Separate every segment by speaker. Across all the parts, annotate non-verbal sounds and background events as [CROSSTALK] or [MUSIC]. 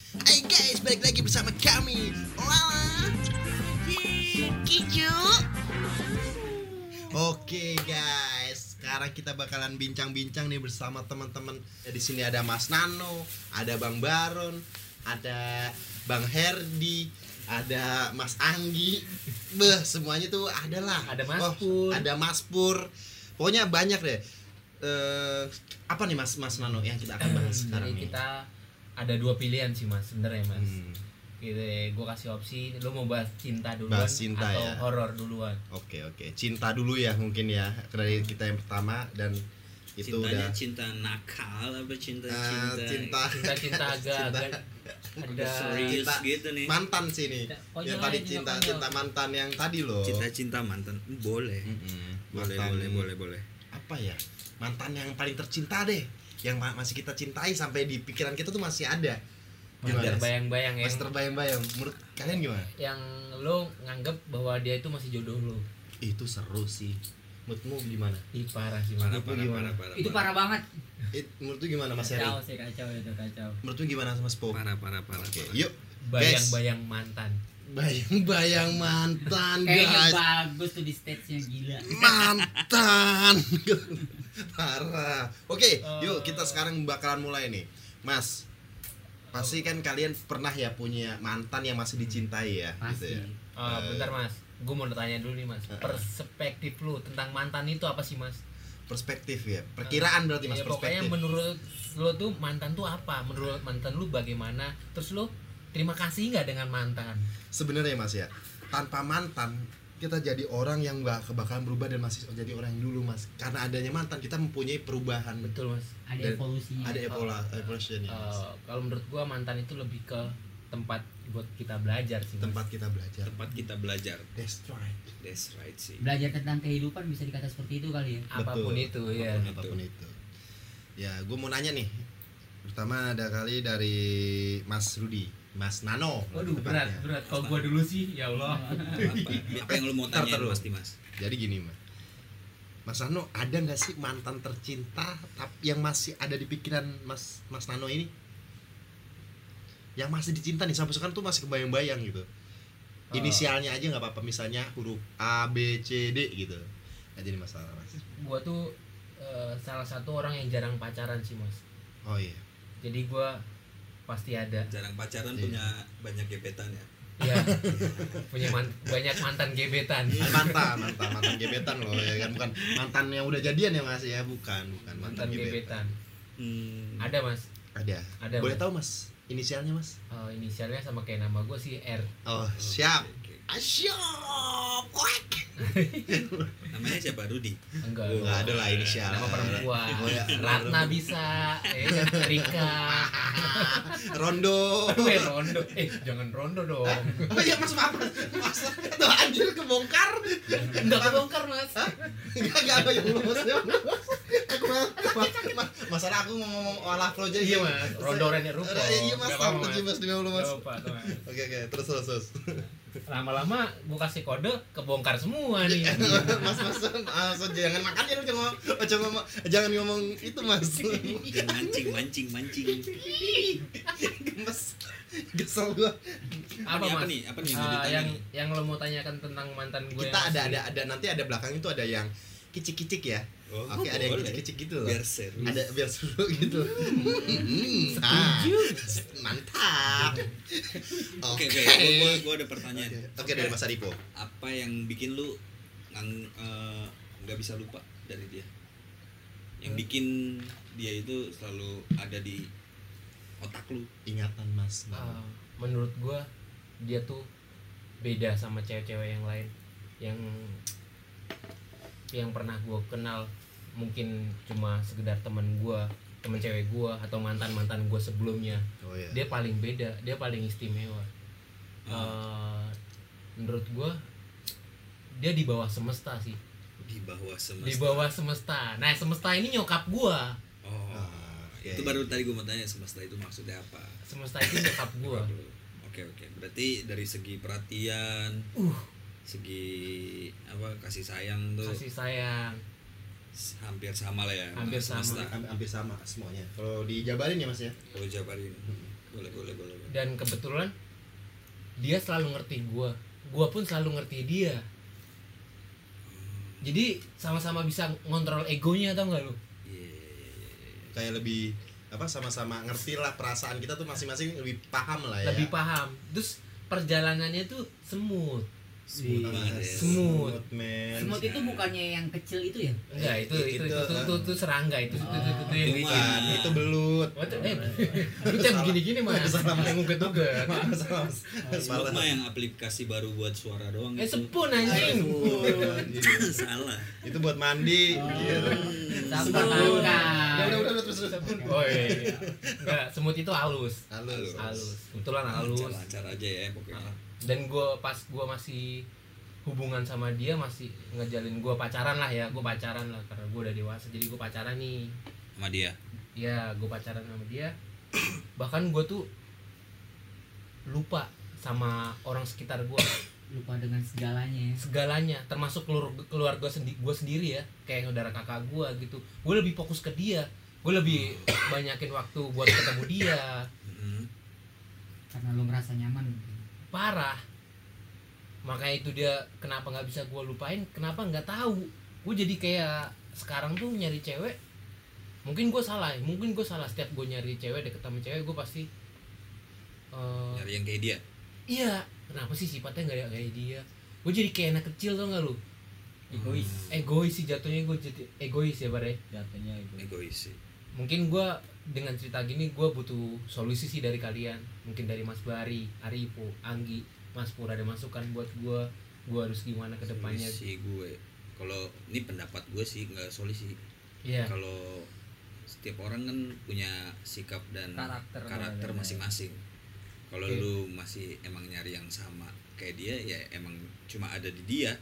Speaker 1: Hai guys, balik lagi bersama kami Lala
Speaker 2: Kicu
Speaker 1: Oke guys, sekarang kita bakalan bincang-bincang nih bersama teman-teman Ya, Di sini ada Mas Nano, ada Bang Baron, ada Bang Herdi ada Mas Anggi, beh semuanya tuh ada lah. Oh,
Speaker 3: Ada Mas Pur.
Speaker 1: ada Mas Pur, pokoknya banyak deh. Eh, apa nih Mas Mas Nano yang kita akan bahas sekarang
Speaker 3: Hmm,
Speaker 1: nih?
Speaker 3: Jadi kita ada dua pilihan sih mas sebenarnya mas.
Speaker 1: Hmm,
Speaker 3: Gitu, ya, gue kasih opsi, lo mau bahas cinta duluan
Speaker 1: Bahas cinta,
Speaker 3: atau
Speaker 1: ya.
Speaker 3: horor duluan?
Speaker 1: Oke oke, cinta dulu ya mungkin ya dari kita yang pertama dan itu
Speaker 4: cintanya
Speaker 1: Gitu udah
Speaker 4: cinta nakal apa cinta
Speaker 1: Eh,
Speaker 4: cinta
Speaker 1: [LAUGHS] cinta
Speaker 3: Cinta-cinta agak agak ada
Speaker 4: serius
Speaker 1: Cinta-
Speaker 4: gitu nih
Speaker 1: mantan sih nih
Speaker 4: Ya,
Speaker 3: Oh,
Speaker 1: yang
Speaker 3: jangan,
Speaker 1: tadi
Speaker 3: jangan,
Speaker 1: cinta
Speaker 3: jangan.
Speaker 1: cinta mantan yang tadi loh
Speaker 4: cinta cinta mantan boleh
Speaker 1: Mm-mm.
Speaker 4: boleh
Speaker 1: Mantan-
Speaker 4: boleh boleh boleh
Speaker 1: apa ya mantan yang paling tercinta deh yang ma- masih kita cintai sampai di pikiran kita tuh masih ada
Speaker 3: yang
Speaker 1: Gimana?
Speaker 3: terbayang-bayang yang
Speaker 1: masih terbayang-bayang menurut kalian gimana
Speaker 3: ya. yang lo nganggep bahwa dia itu masih jodoh lo.
Speaker 1: Eh, itu seru sih menurutmu gimana
Speaker 3: Ih parah sih mas.
Speaker 4: parah
Speaker 1: Itu
Speaker 4: parah
Speaker 1: gimana?
Speaker 4: parah parah
Speaker 5: itu parah banget
Speaker 1: It, menurut lu Eh, gimana mas Heri
Speaker 5: kacau sih kacau itu kacau
Speaker 1: menurut lu gimana mas Po
Speaker 4: parah parah parah
Speaker 1: Oke,
Speaker 4: parah.
Speaker 1: yuk
Speaker 3: Bayang-bayang mantan.
Speaker 1: bayang-bayang mantan
Speaker 4: Eh,
Speaker 5: kayaknya
Speaker 1: guys
Speaker 5: bagus tuh di stage nya gila
Speaker 1: mantan [LAUGHS] parah oke yuk
Speaker 3: Eh.
Speaker 1: kita sekarang bakalan mulai nih mas pasti kan kalian pernah ya punya mantan yang masih dicintai ya gitu
Speaker 5: pasti
Speaker 1: ya
Speaker 3: Ah,
Speaker 1: Eh.
Speaker 3: bentar mas, gue mau tanya dulu nih mas.
Speaker 1: Eh, eh.
Speaker 3: Perspektif lo tentang mantan itu apa sih mas?
Speaker 1: perspektif ya perkiraan berarti mas
Speaker 3: Ya, pokoknya
Speaker 1: perspektif
Speaker 3: menurut lo tuh mantan tuh apa menurut mantan lu bagaimana terus lo terima kasih nggak dengan mantan
Speaker 1: sebenarnya mas ya tanpa mantan kita jadi orang yang bak- bakalan berubah dan masih jadi orang yang dulu mas karena adanya mantan kita mempunyai perubahan
Speaker 3: betul mas
Speaker 5: ada
Speaker 1: Dan
Speaker 5: evolusinya
Speaker 1: ada
Speaker 3: Oh.
Speaker 1: evola evolution ya Mas.
Speaker 3: Eh, kalau menurut gua mantan itu lebih ke tempat buat kita belajar sih Mas.
Speaker 1: tempat kita belajar
Speaker 4: tempat kita belajar
Speaker 1: destroy
Speaker 4: that's right sih
Speaker 3: Nah.
Speaker 5: belajar tentang kehidupan bisa dikata seperti itu kali ya
Speaker 3: apapun
Speaker 1: Betul.
Speaker 3: itu ya
Speaker 1: apapun, Iya, apapun itu. Ya, gue mau nanya nih. Pertama ada kali dari Mas Rudi, Mas Nano.
Speaker 3: waduh berat
Speaker 1: tepatnya.
Speaker 3: berat kalau gua dulu sih ya allah [LAUGHS]
Speaker 4: Apa- apa yang lu mau
Speaker 1: Ntar,
Speaker 4: tanya
Speaker 1: ntar,
Speaker 4: pasti mas
Speaker 1: Jadi gini, Mas. Mas Nano, ada nggak sih mantan tercinta tap- yang masih ada di pikiran Mas Mas Nano ini? Yang masih dicinta nih sampai sekarang tuh masih kebayang-bayang gitu.
Speaker 3: Eh.
Speaker 1: Inisialnya aja nggak apa-apa, misalnya huruf A B C D gitu. Gak jadi masalah, Mas.
Speaker 3: gua tuh eh, salah satu orang yang jarang pacaran sih mas
Speaker 1: Oh iya.
Speaker 3: jadi gua pasti ada
Speaker 4: jarang pacaran
Speaker 1: Iya.
Speaker 4: punya banyak gebetan ya
Speaker 3: [LAUGHS] ya punya man- banyak mantan gebetan
Speaker 1: mantan mantan mantan gebetan loh ya kan bukan mantan yang udah jadian ya mas ya bukan bukan
Speaker 3: mantan gebetan
Speaker 4: hmm.
Speaker 3: ada mas
Speaker 1: ada
Speaker 3: Ada,
Speaker 1: boleh
Speaker 3: Mas.
Speaker 1: tahu mas inisialnya mas
Speaker 3: Eh, inisialnya sama kayak nama gue sih R.
Speaker 1: oh
Speaker 4: Oke,
Speaker 1: siap
Speaker 4: oke.
Speaker 1: asyop Wek.
Speaker 4: namanya siapa Rudi
Speaker 3: Enggak.
Speaker 1: Enggak ada lah inisial
Speaker 3: Nama perempuan.
Speaker 1: Oh, iya.
Speaker 3: Ratna bisa, eh Rika.
Speaker 1: Nah, Rondo
Speaker 3: Aduh, eh, rondo. Eh, jangan rondo dong.
Speaker 1: oh iya mas maaf mas mas tuh anjir kebongkar
Speaker 3: Enggak kebongkar, Mas.
Speaker 1: enggak enggak apa yang lu mas aku mah ma- masalah aku mau ngomong olah flow aja
Speaker 3: Iya, Mas. Rondo Rene Rupo.
Speaker 1: iya mas
Speaker 3: Enggak
Speaker 1: tahu
Speaker 3: apa-apa,
Speaker 1: tuh mas demi Allah, mas
Speaker 3: Lupa, tuh, Mas.
Speaker 1: oke oke terus terus terus
Speaker 3: Lama-lama gue kasih kode kebongkar semua nih.
Speaker 1: [LAUGHS] mas mas mas jangan makannya lu jangan ngomong oh, jangan ngomong jangan ngomong itu
Speaker 4: [LAUGHS]
Speaker 1: mas
Speaker 4: mancing mancing mancing
Speaker 1: mas kesel gua
Speaker 3: Apa,
Speaker 4: Ini apa
Speaker 3: Mas?
Speaker 4: nih apa nih yang
Speaker 3: Eh,
Speaker 4: mau ditanya
Speaker 3: yang
Speaker 4: nih?
Speaker 3: yang lo mau tanyakan tentang mantan gue
Speaker 1: kita ada ada ada nanti ada belakang itu ada yang kicik kicik ya
Speaker 4: Oh,
Speaker 1: oke ada yang
Speaker 4: boleh.
Speaker 1: kicik kicik gitu loh
Speaker 4: biar seru
Speaker 1: ada biar seru [LAUGHS] gitu Hmm, ah, mantap
Speaker 4: [LAUGHS] oke
Speaker 1: oke
Speaker 4: oke Gua- gua- gua ada pertanyaan
Speaker 1: oke dari mas Aripo
Speaker 4: apa yang bikin lu ngang- eh, nggak bisa lupa dari dia
Speaker 3: Eh.
Speaker 4: yang bikin dia itu selalu ada di otak lu
Speaker 1: ingatan mas
Speaker 4: Ah.
Speaker 3: Eh, menurut gue dia tuh beda sama cewek-cewek yang lain yang yang pernah gue kenal mungkin cuma sekedar teman gue teman cewek gue atau mantan mantan gue sebelumnya
Speaker 1: oh ya
Speaker 3: dia paling beda dia paling istimewa
Speaker 4: Hmm.
Speaker 3: Eh, menurut gue dia di bawah semesta sih
Speaker 4: di bawah semesta
Speaker 3: di bawah semesta nah semesta ini nyokap gue
Speaker 4: oh
Speaker 1: Ah, oke.
Speaker 4: itu baru tadi gue mau tanya semesta itu maksudnya apa
Speaker 3: semesta itu nyokap gue
Speaker 4: Waduh. oke oke berarti dari segi perhatian
Speaker 3: Uh.
Speaker 4: segi apa kasih sayang tuh
Speaker 3: kasih sayang
Speaker 4: s- hampir sama lah ya
Speaker 3: Hampir
Speaker 4: sama
Speaker 3: sama.
Speaker 4: semesta
Speaker 1: Hampir- hampir sama semuanya kalau dijabarin ya mas ya
Speaker 3: Hmm.
Speaker 4: kalau jabarin boleh boleh boleh boleh.
Speaker 3: dan kebetulan dia selalu ngerti gua gua pun selalu ngerti dia jadi sama-sama bisa ngontrol egonya tau nggak lu
Speaker 1: Ah,
Speaker 4: Iya, iya, iya, iya, iya.
Speaker 1: kayak lebih apa sama-sama ngerti lah perasaan kita tuh masing-masing lebih paham lah ya
Speaker 3: lebih paham terus perjalanannya tuh semut
Speaker 1: smooth
Speaker 4: Iya.
Speaker 1: banget ya.
Speaker 3: Smooth.
Speaker 1: man
Speaker 5: Semut itu bukannya yang kecil itu ya?
Speaker 3: enggak itu itu itu,
Speaker 1: Itu, eh. Ah.
Speaker 3: itu, itu, itu serangga itu itu itu, itu, itu, itu.
Speaker 1: bukan itu belut [LAUGHS]
Speaker 3: What the- eh,
Speaker 1: Iya.
Speaker 3: [LAUGHS] lu cap gini-gini mah
Speaker 1: Salah.
Speaker 3: yang uget-uget
Speaker 1: Maaf, salah.
Speaker 4: Smooth
Speaker 1: Salah.
Speaker 4: mah yang aplikasi baru buat suara
Speaker 3: [LAUGHS]
Speaker 4: doang
Speaker 3: eh
Speaker 4: itu.
Speaker 3: sepun anjing
Speaker 1: Aduh,
Speaker 3: [LAUGHS]
Speaker 1: anjing.
Speaker 4: Salah.
Speaker 1: itu buat mandi gitu.
Speaker 3: Hmm.
Speaker 5: Sabar
Speaker 1: Ya udah
Speaker 3: Sebelum. Ah.
Speaker 5: makan.
Speaker 1: udah udah, terus terus.
Speaker 3: Sepun. oh iya, iya. Enggak, semut itu halus
Speaker 1: Halus.
Speaker 3: halus kebetulan halus
Speaker 4: Lancar-lancar aja ya pokoknya.
Speaker 3: dan gue pas gue masih hubungan sama dia masih ngejalin gue pacaran lah ya gue pacaran lah karena gue udah dewasa jadi gue pacaran nih
Speaker 4: Sama dia.
Speaker 3: ya gue pacaran sama dia [CLEARS THROAT] bahkan gue tuh lupa sama orang sekitar gue
Speaker 5: Lupa dengan segalanya. ya.
Speaker 3: segalanya termasuk kelur- keluarga sendi gue sendiri ya kayak saudara kakak gue gitu gue lebih fokus ke dia gue lebih banyakin waktu buat ketemu dia Hmm.
Speaker 4: Mm.
Speaker 5: Karena lu merasa nyaman.
Speaker 3: parah makanya itu dia kenapa nggak bisa gue lupain kenapa nggak tahu gue jadi kayak sekarang tuh nyari cewek mungkin gue salah ya, mungkin gue salah setiap gue nyari cewek deket sama cewek gue pasti eh,
Speaker 4: Nyari yang kayak dia.
Speaker 3: iya kenapa sih sifatnya nggak kayak dia gue jadi kayak anak kecil tau nggak lu
Speaker 5: Egois.
Speaker 3: Oh.
Speaker 4: Hmm.
Speaker 3: egois sih jatuhnya gue jadi egois ya bare
Speaker 5: Jatuhnya egois.
Speaker 4: Egois sih.
Speaker 3: mungkin gue dengan cerita gini gue butuh solusi sih dari kalian mungkin dari Mas Bari, Arifu, Anggi, Mas Pur ada masukan buat gue gue harus gimana ke depannya
Speaker 4: Solusi gue. Kalau ini pendapat gue sih nggak solusi.
Speaker 3: Iya
Speaker 4: Kalau setiap orang kan punya sikap dan
Speaker 5: Karakter.
Speaker 4: karakter masing-masing. Kalau
Speaker 3: ya. Oke.
Speaker 4: lu masih emang nyari yang sama kayak dia ya emang cuma ada di dia.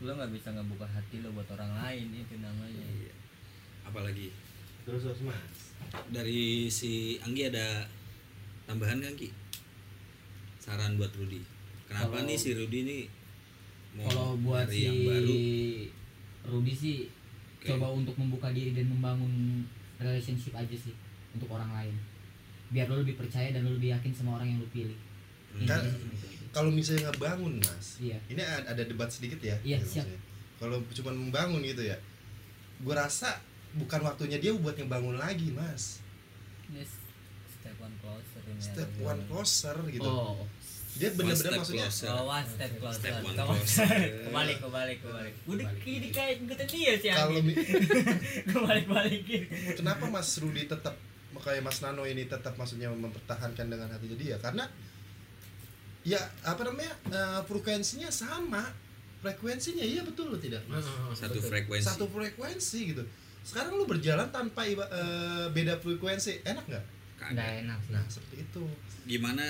Speaker 6: lo nggak bisa ngebuka hati lo buat orang lain itu namanya
Speaker 4: Iya. Apalagi
Speaker 1: Terus terus mas.
Speaker 4: dari si Anggi ada tambahan nggak Anggi? Saran buat Rudi. Kenapa
Speaker 5: Kalau-
Speaker 4: nih si Rudi ini mau
Speaker 5: Kalau buat
Speaker 4: Iya, nyari
Speaker 5: si
Speaker 4: yang baru?
Speaker 5: Rudy sih
Speaker 4: Oke.
Speaker 5: coba untuk membuka diri dan membangun relationship aja sih untuk orang lain. Biar lo lebih percaya dan lo lebih yakin sama orang yang lo pilih.
Speaker 4: Hmm.
Speaker 5: Intinya
Speaker 1: Kan-
Speaker 5: sih seperti itu.
Speaker 1: Kalau misalnya ngebangun mas,
Speaker 5: Iya.
Speaker 1: ini a- ada debat sedikit ya.
Speaker 5: Iya,
Speaker 1: gitu
Speaker 5: siap.
Speaker 1: maksudnya. Kalau cuma membangun gitu ya, gue rasa bukan waktunya dia buat ngebangun lagi mas.
Speaker 6: Ini s- step one closer ini
Speaker 1: Step
Speaker 6: ada
Speaker 1: one
Speaker 6: jalan.
Speaker 1: closer gitu.
Speaker 5: Oh,
Speaker 1: Dia bener-bener
Speaker 4: step
Speaker 1: maksudnya
Speaker 4: closer.
Speaker 6: Oh, one step closer
Speaker 4: Step one
Speaker 6: Kamu-
Speaker 4: closer.
Speaker 6: [LAUGHS] kebalik kebalik kebalik udah kini kayak ngikutin dia sih
Speaker 1: kalau
Speaker 6: Anggi
Speaker 1: mi-
Speaker 6: [LAUGHS] kebalik balikin
Speaker 1: kenapa Mas Rudi tetap kayak Mas Nano ini tetap maksudnya mempertahankan dengan hati jadi ya karena ya apa namanya eh, frekuensinya sama frekuensinya iya betul loh tidak Mas
Speaker 3: Heeh,
Speaker 4: Satu
Speaker 3: betul.
Speaker 4: frekuensi.
Speaker 1: satu frekuensi gitu sekarang lu berjalan tanpa iba- eh, beda frekuensi enak nggak
Speaker 5: nggak
Speaker 4: Kagak.
Speaker 5: enak sih.
Speaker 1: nah seperti itu
Speaker 4: Gimana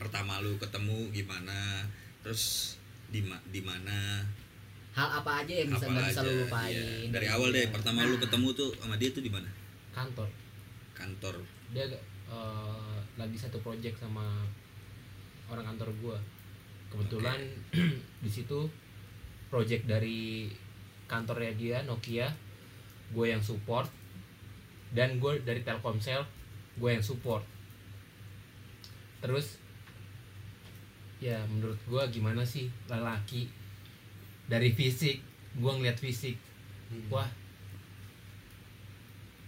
Speaker 4: pertama lu ketemu gimana? Terus di ma- di mana?
Speaker 5: Hal apa aja yang bisa nggak bisa lo
Speaker 4: aja,
Speaker 5: lupain?
Speaker 4: iya. Dari awal deh
Speaker 5: dia.
Speaker 4: pertama lu
Speaker 5: Nah,
Speaker 4: ketemu tuh sama dia tuh di mana?
Speaker 3: kantor
Speaker 4: Kantor.
Speaker 3: dia eh, lagi satu project sama orang kantor gue kebetulan [CLEARS THROAT] di situ project dari kantornya dia Nokia gue yang support dan gue dari Telkomsel gue yang support terus ya menurut gue gimana sih lelaki dari fisik gue ngeliat fisik wah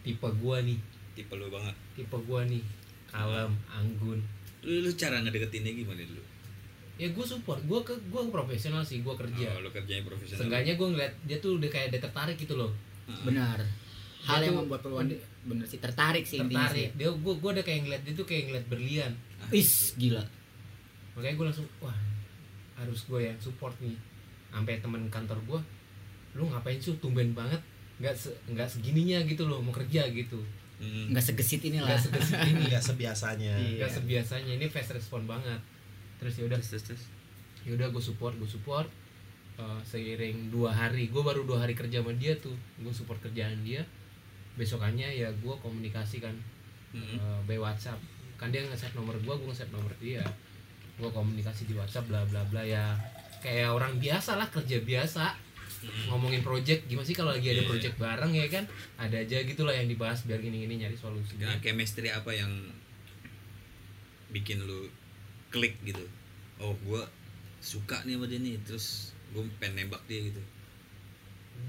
Speaker 3: tipe gue nih
Speaker 4: Tipe lu banget.
Speaker 3: tipe gua nih kalem anggun
Speaker 4: Lu, lu cara ngedeketinnya gimana dulu?
Speaker 3: ya gue support gue ke gue profesional sih gue kerja
Speaker 4: Oh, lu kerjanya profesional.
Speaker 3: seenggaknya gue ngeliat dia tuh udah kayak ada tertarik gitu loh
Speaker 4: Heeh.
Speaker 5: benar. Hal
Speaker 3: Dia
Speaker 5: yang
Speaker 3: tuh-
Speaker 5: membuat peluang bener sih tertarik sih intinya sih.
Speaker 3: tertarik dia gue gue udah kayak ngeliat dia tuh kayak ngeliat berlian
Speaker 4: Ah,
Speaker 5: Is gila.
Speaker 3: makanya gue langsung wah harus gue yang support nih sampai temen kantor gue lu ngapain sih tumben banget nggak se- nggak segininya gitu loh mau kerja gitu
Speaker 4: Hmm.
Speaker 5: Nggak segesit inilah.
Speaker 3: nggak segesit ini
Speaker 1: nggak sebiasanya
Speaker 5: Iya.
Speaker 3: nggak sebiasanya ini fast respon banget terus ya udah
Speaker 4: Terus, terus, terus.
Speaker 3: yaudah gue Ya support gue support Uh, seiring dua hari gue baru dua hari kerja sama dia tuh gue support kerjaan dia besokannya ya gue komunikasikan
Speaker 4: Hmm.
Speaker 3: uh, by WhatsApp kan dia nge-save nomor gue gue nge-save nomor dia gue komunikasi di WhatsApp bla bla bla ya kayak orang biasa lah kerja biasa ngomongin project gimana sih kalau lagi ada
Speaker 4: Iya.
Speaker 3: project bareng ya kan ada aja gitulah yang dibahas biar gini gini nyari solusinya
Speaker 4: Nah, chemistry apa yang bikin lu klik gitu oh gua suka nih sama dia nih terus gue pengen nembak dia gitu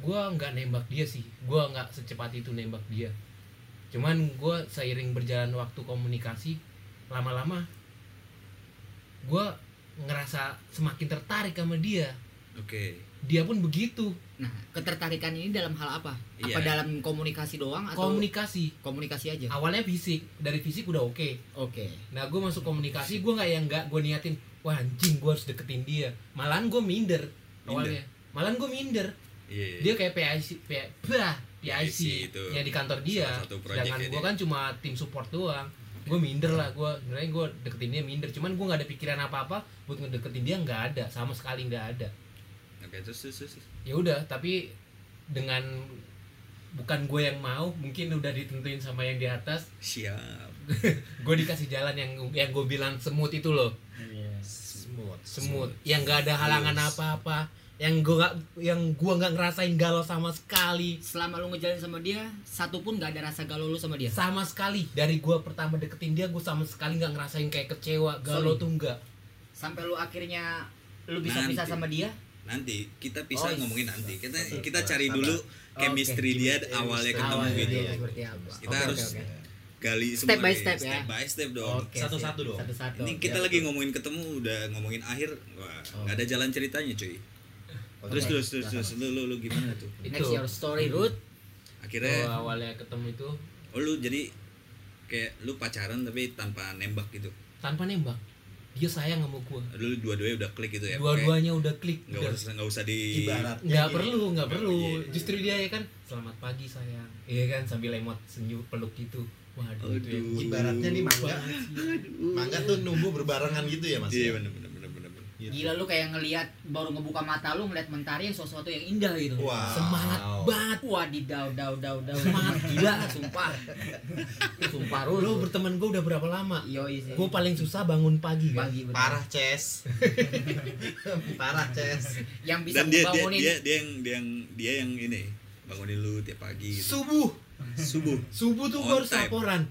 Speaker 3: gua nggak nembak dia sih gua nggak secepat itu nembak dia cuman gua seiring berjalan waktu komunikasi lama-lama gua ngerasa semakin tertarik sama dia
Speaker 4: oke
Speaker 3: dia pun begitu
Speaker 5: Nah, ketertarikan ini dalam hal apa?
Speaker 4: Iya.
Speaker 5: Apa dalam komunikasi doang atau
Speaker 3: komunikasi
Speaker 5: komunikasi aja?
Speaker 3: awalnya fisik dari fisik udah oke
Speaker 5: Oke.
Speaker 3: nah gue masuk komunikasi gue nggak yang nggak gue niatin wah anjing gue harus deketin dia malahan gue minder awalnya malahan gue minder
Speaker 4: iya iya.
Speaker 3: dia kayak PIC P- bah, PIC
Speaker 4: itu.
Speaker 3: ya di kantor dia
Speaker 4: Salah satu project
Speaker 3: sedangkan
Speaker 4: ya
Speaker 3: gue
Speaker 4: dia.
Speaker 3: kan cuma tim support doang gue minder lah gue sebenarnya gue deketin dia minder cuman gue nggak ada pikiran apa apa buat ngedeketin dia nggak ada sama sekali nggak ada
Speaker 4: oke terus terus terus
Speaker 3: ya udah tapi dengan bukan gue yang mau mungkin udah ditentuin sama yang di atas
Speaker 4: siap
Speaker 3: gue dikasih jalan yang yang gue bilang semut itu loh
Speaker 1: Smooth.
Speaker 3: semut yang gak ada halangan apa-apa yang gue gak yang gua nggak ngerasain galau sama sekali
Speaker 5: Selama lu ngejalan sama dia, satu pun nggak ada rasa galau lu sama
Speaker 4: Iya.
Speaker 5: dia.
Speaker 3: sama sekali dari gue pertama deketin dia gue sama sekali nggak ngerasain kayak kecewa galau
Speaker 5: Sorry.
Speaker 3: tuh enggak
Speaker 5: Sampai lu akhirnya lu bisa
Speaker 4: Nanti.
Speaker 5: pisah sama dia?
Speaker 4: nanti kita bisa
Speaker 5: Oh,
Speaker 4: ngomongin nanti kita
Speaker 1: sabar,
Speaker 4: kita
Speaker 1: sabar,
Speaker 4: cari
Speaker 1: sabar.
Speaker 4: dulu chemistry dia
Speaker 1: chemistry,
Speaker 4: awalnya
Speaker 1: chemistry.
Speaker 4: ketemu
Speaker 1: Awalnya
Speaker 4: gitu
Speaker 1: dia.
Speaker 5: seperti apa?
Speaker 4: Kita
Speaker 5: Oke,
Speaker 4: harus-
Speaker 5: oke, oke.
Speaker 4: gali
Speaker 5: iya, Step
Speaker 4: semua
Speaker 5: by
Speaker 4: nih.
Speaker 5: step ya.
Speaker 4: step by step dong
Speaker 5: Oke,
Speaker 1: Satu-satu
Speaker 5: siap.
Speaker 1: dong.
Speaker 5: Satu-satu.
Speaker 4: ini kita
Speaker 1: Iya,
Speaker 4: lagi
Speaker 1: betul.
Speaker 4: ngomongin ketemu udah ngomongin akhir wah
Speaker 5: Oh.
Speaker 4: nggak ada jalan ceritanya cuy terus terus terus terus lu lu, lu gimana tuh
Speaker 5: Next your story,
Speaker 3: Tuh,
Speaker 5: Ruth.
Speaker 4: akhirnya
Speaker 3: awalnya ketemu itu
Speaker 4: oh, lu jadi kayak lu pacaran tapi tanpa nembak gitu
Speaker 3: tanpa nembak dia sayang sama gue
Speaker 4: lu dua-duanya udah klik gitu ya Kayak
Speaker 3: dua-duanya udah klik
Speaker 4: nggak
Speaker 3: udah
Speaker 4: usah nggak usah di
Speaker 1: Ibaratnya
Speaker 3: nggak
Speaker 1: gini.
Speaker 3: perlu nggak perlu
Speaker 4: Iya, iya.
Speaker 3: justru dia ya kan selamat pagi sayang iya kan sambil emot senyum peluk gitu waduh itu ya.
Speaker 4: Aduh.
Speaker 1: Ibaratnya nih
Speaker 3: [LAUGHS]
Speaker 1: mangga.
Speaker 3: Banget sih.
Speaker 1: Mangga tuh numbuh berbarengan gitu ya Mas.
Speaker 4: iya bener bener bener bener bener.
Speaker 1: Gitu.
Speaker 5: Gila lu kayak ngelihat baru ngebuka mata lu ngelihat mentari yang sesuatu yang indah gitu.
Speaker 1: Wow.
Speaker 3: semangat banget
Speaker 5: Wah, di daw daw daw daw.
Speaker 3: Semangat gila.
Speaker 5: sumpah. Sumpah lu.
Speaker 3: lo berteman gue udah berapa lama
Speaker 5: Yo
Speaker 4: Iya.
Speaker 5: sih.
Speaker 3: gue paling susah bangun pagi kan
Speaker 5: Bagi bener.
Speaker 1: Parah,
Speaker 4: [LAUGHS]
Speaker 1: Ces. Parah, Ces.
Speaker 5: Yang bisa
Speaker 4: dan dia dia,
Speaker 5: membangunin
Speaker 4: dia dia yang dia yang dia yang ini bangunin lu tiap pagi gitu.
Speaker 3: subuh
Speaker 4: subuh
Speaker 3: subuh tuh gue
Speaker 4: On
Speaker 3: harus
Speaker 4: time.
Speaker 3: laporan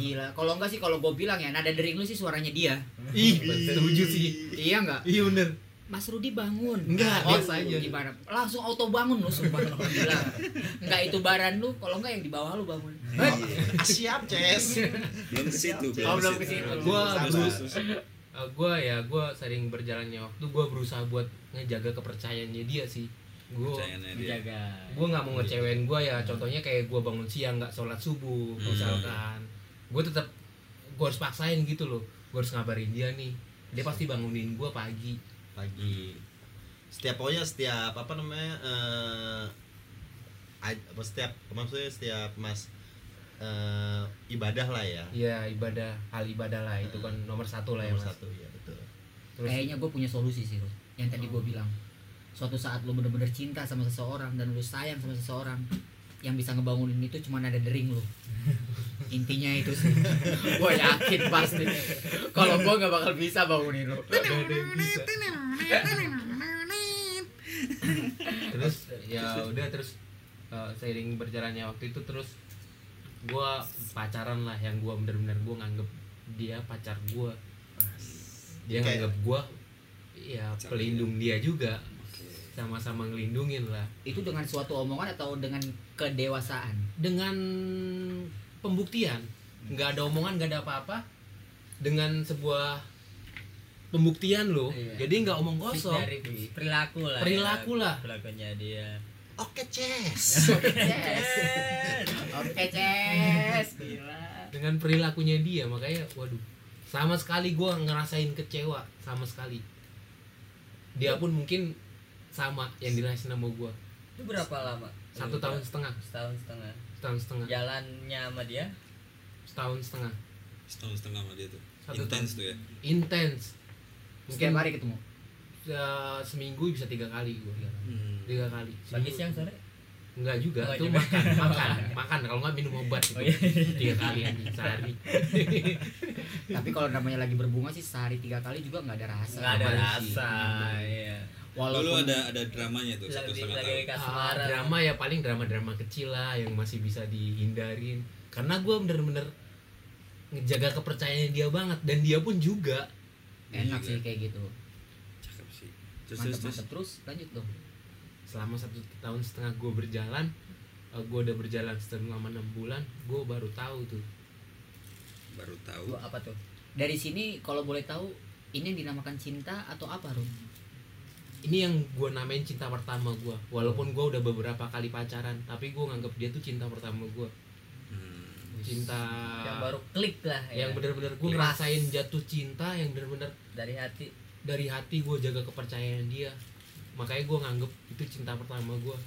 Speaker 5: Gila, kalau enggak sih kalau gue bilang ya nada dering lu sih suaranya dia.
Speaker 3: ih setuju sih
Speaker 5: iya enggak?
Speaker 3: iya bener
Speaker 5: Mas Rudi bangun.
Speaker 3: Enggak,
Speaker 5: oh,
Speaker 3: biasa aja.
Speaker 5: Gimana? Langsung auto bangun lu sumpah. Gila. Enggak itu baran lu, kalau enggak yang di bawah lu bangun.
Speaker 1: Ah, [LAUGHS] siap, Ces.
Speaker 4: Iya. belum ke situ
Speaker 5: Oh, belum
Speaker 4: ke
Speaker 5: ke
Speaker 4: situ.
Speaker 5: situ.
Speaker 3: Gua
Speaker 4: Terus,
Speaker 3: belum.
Speaker 4: terus, terus.
Speaker 3: gue ya gue sering berjalannya waktu gue berusaha buat ngejaga kepercayaannya dia sih gue
Speaker 4: Percayaannya dia.
Speaker 5: Iya.
Speaker 6: Menjaga.
Speaker 3: gue nggak
Speaker 1: Iya.
Speaker 3: mau ngecewain gue ya contohnya kayak gue bangun siang nggak sholat subuh
Speaker 4: Hmm.
Speaker 3: misalkan gue tetap gue harus paksain gitu loh gue harus ngabarin dia nih dia pasti bangunin gue pagi
Speaker 1: Pagi. Setiap pokoknya setiap apa namanya? eh aj- apa, setiap maksudnya setiap Mas eh, ibadah lah ya.
Speaker 3: ya ibadah hal ibadah lah itu kan nomor satu lah ya
Speaker 1: Nomor
Speaker 3: mas
Speaker 1: satu ya, betul.
Speaker 3: terus
Speaker 5: Kayaknya gue punya solusi sih Rud. Yang tadi gue bilang Suatu saat lu bener-bener cinta sama seseorang Dan lu sayang sama seseorang Yang bisa ngebangunin itu cuma nada dering lu Intinya itu sih [LAUGHS] Gue yakin pasti Kalau gue gak bakal bisa bangunin lu
Speaker 3: Gak ada yang bisa. terus ya udah terus uh, seiring berjalannya waktu itu terus gue pacaran lah yang gue bener-bener gue nganggep dia pacar gue dia
Speaker 1: Kayak-
Speaker 3: nganggep gue ya
Speaker 4: Pacar
Speaker 3: pelindung dia juga
Speaker 4: Oke.
Speaker 3: sama-sama ngelindungin lah
Speaker 5: Itu dengan suatu omongan atau dengan [LAUGHS] kedewasaan
Speaker 3: dengan pembuktian nggak ada omongan nggak ada apa-apa dengan sebuah pembuktian loh
Speaker 6: Iya.
Speaker 3: jadi nggak omong kosong
Speaker 6: Dari perilaku lah.
Speaker 3: Perilaku
Speaker 6: ya.
Speaker 3: lah.
Speaker 6: Perilakunya dia.
Speaker 1: Oke, Ces.
Speaker 3: [LAUGHS]
Speaker 5: Oke Ces Oke Ces Gila
Speaker 3: dengan perilakunya dia makanya waduh sama sekali gua ngerasain kecewa sama sekali dia pun mungkin sama yang dirasain sama gua
Speaker 6: Itu berapa lama?
Speaker 3: satu
Speaker 6: Lu-
Speaker 3: tahun setengah
Speaker 6: Setahun setengah.
Speaker 3: setahun setengah
Speaker 6: Iya. Jalannya sama dia
Speaker 3: setahun setengah
Speaker 4: setahun setengah sama dia tuh
Speaker 3: Satu
Speaker 4: intens tuh ya
Speaker 3: intens mungkin
Speaker 5: Setiap hari ketemu
Speaker 3: uh, seminggu bisa tiga kali gua tiga kali
Speaker 6: Hmm. pagi
Speaker 3: Seminggu.
Speaker 6: siang sore.
Speaker 3: Enggak juga,
Speaker 6: Enggak
Speaker 3: itu
Speaker 6: juga. [LAUGHS]
Speaker 3: makan, makan, makan. Kalau nggak minum obat itu
Speaker 6: Oh, iya.
Speaker 3: tiga kali anjing sehari.
Speaker 6: [LAUGHS]
Speaker 5: Tapi kalau namanya lagi berbunga sih sehari tiga kali juga gak ada rasa
Speaker 6: Enggak ada
Speaker 3: Apaan sih?
Speaker 6: rasa. Iya.
Speaker 4: lalu
Speaker 5: Walaupun
Speaker 4: ada ada dramanya tuh satu
Speaker 6: Lagi
Speaker 4: setengah
Speaker 6: lagi
Speaker 4: tahun
Speaker 3: Ah,
Speaker 6: kasmaran.
Speaker 3: drama ya paling drama-drama kecil lah yang masih bisa dihindarin. Karena gue bener-bener ngejaga kepercayaannya dia banget dan dia pun juga
Speaker 5: enak
Speaker 4: Iya.
Speaker 5: sih kayak gitu
Speaker 4: cakep sih terus terus
Speaker 5: mantep
Speaker 4: terus
Speaker 5: mantep terus lanjut dong
Speaker 3: selama satu tahun setengah gue berjalan gue udah berjalan selama enam bulan gue baru tahu tuh
Speaker 4: baru tahu
Speaker 5: Gua apa tuh dari sini kalau boleh tahu ini yang dinamakan cinta atau apa Rum?
Speaker 3: ini yang gue namain cinta pertama gue walaupun gue udah beberapa kali pacaran tapi gue nganggap dia tuh cinta pertama gue
Speaker 4: Hmm.
Speaker 3: cinta
Speaker 6: yang baru klik lah ya
Speaker 3: yang bener-bener gue
Speaker 6: Pas.
Speaker 3: ngerasain jatuh cinta yang bener-bener
Speaker 6: dari hati
Speaker 3: dari hati gue jaga kepercayaan dia makanya gue nganggep itu cinta pertama gue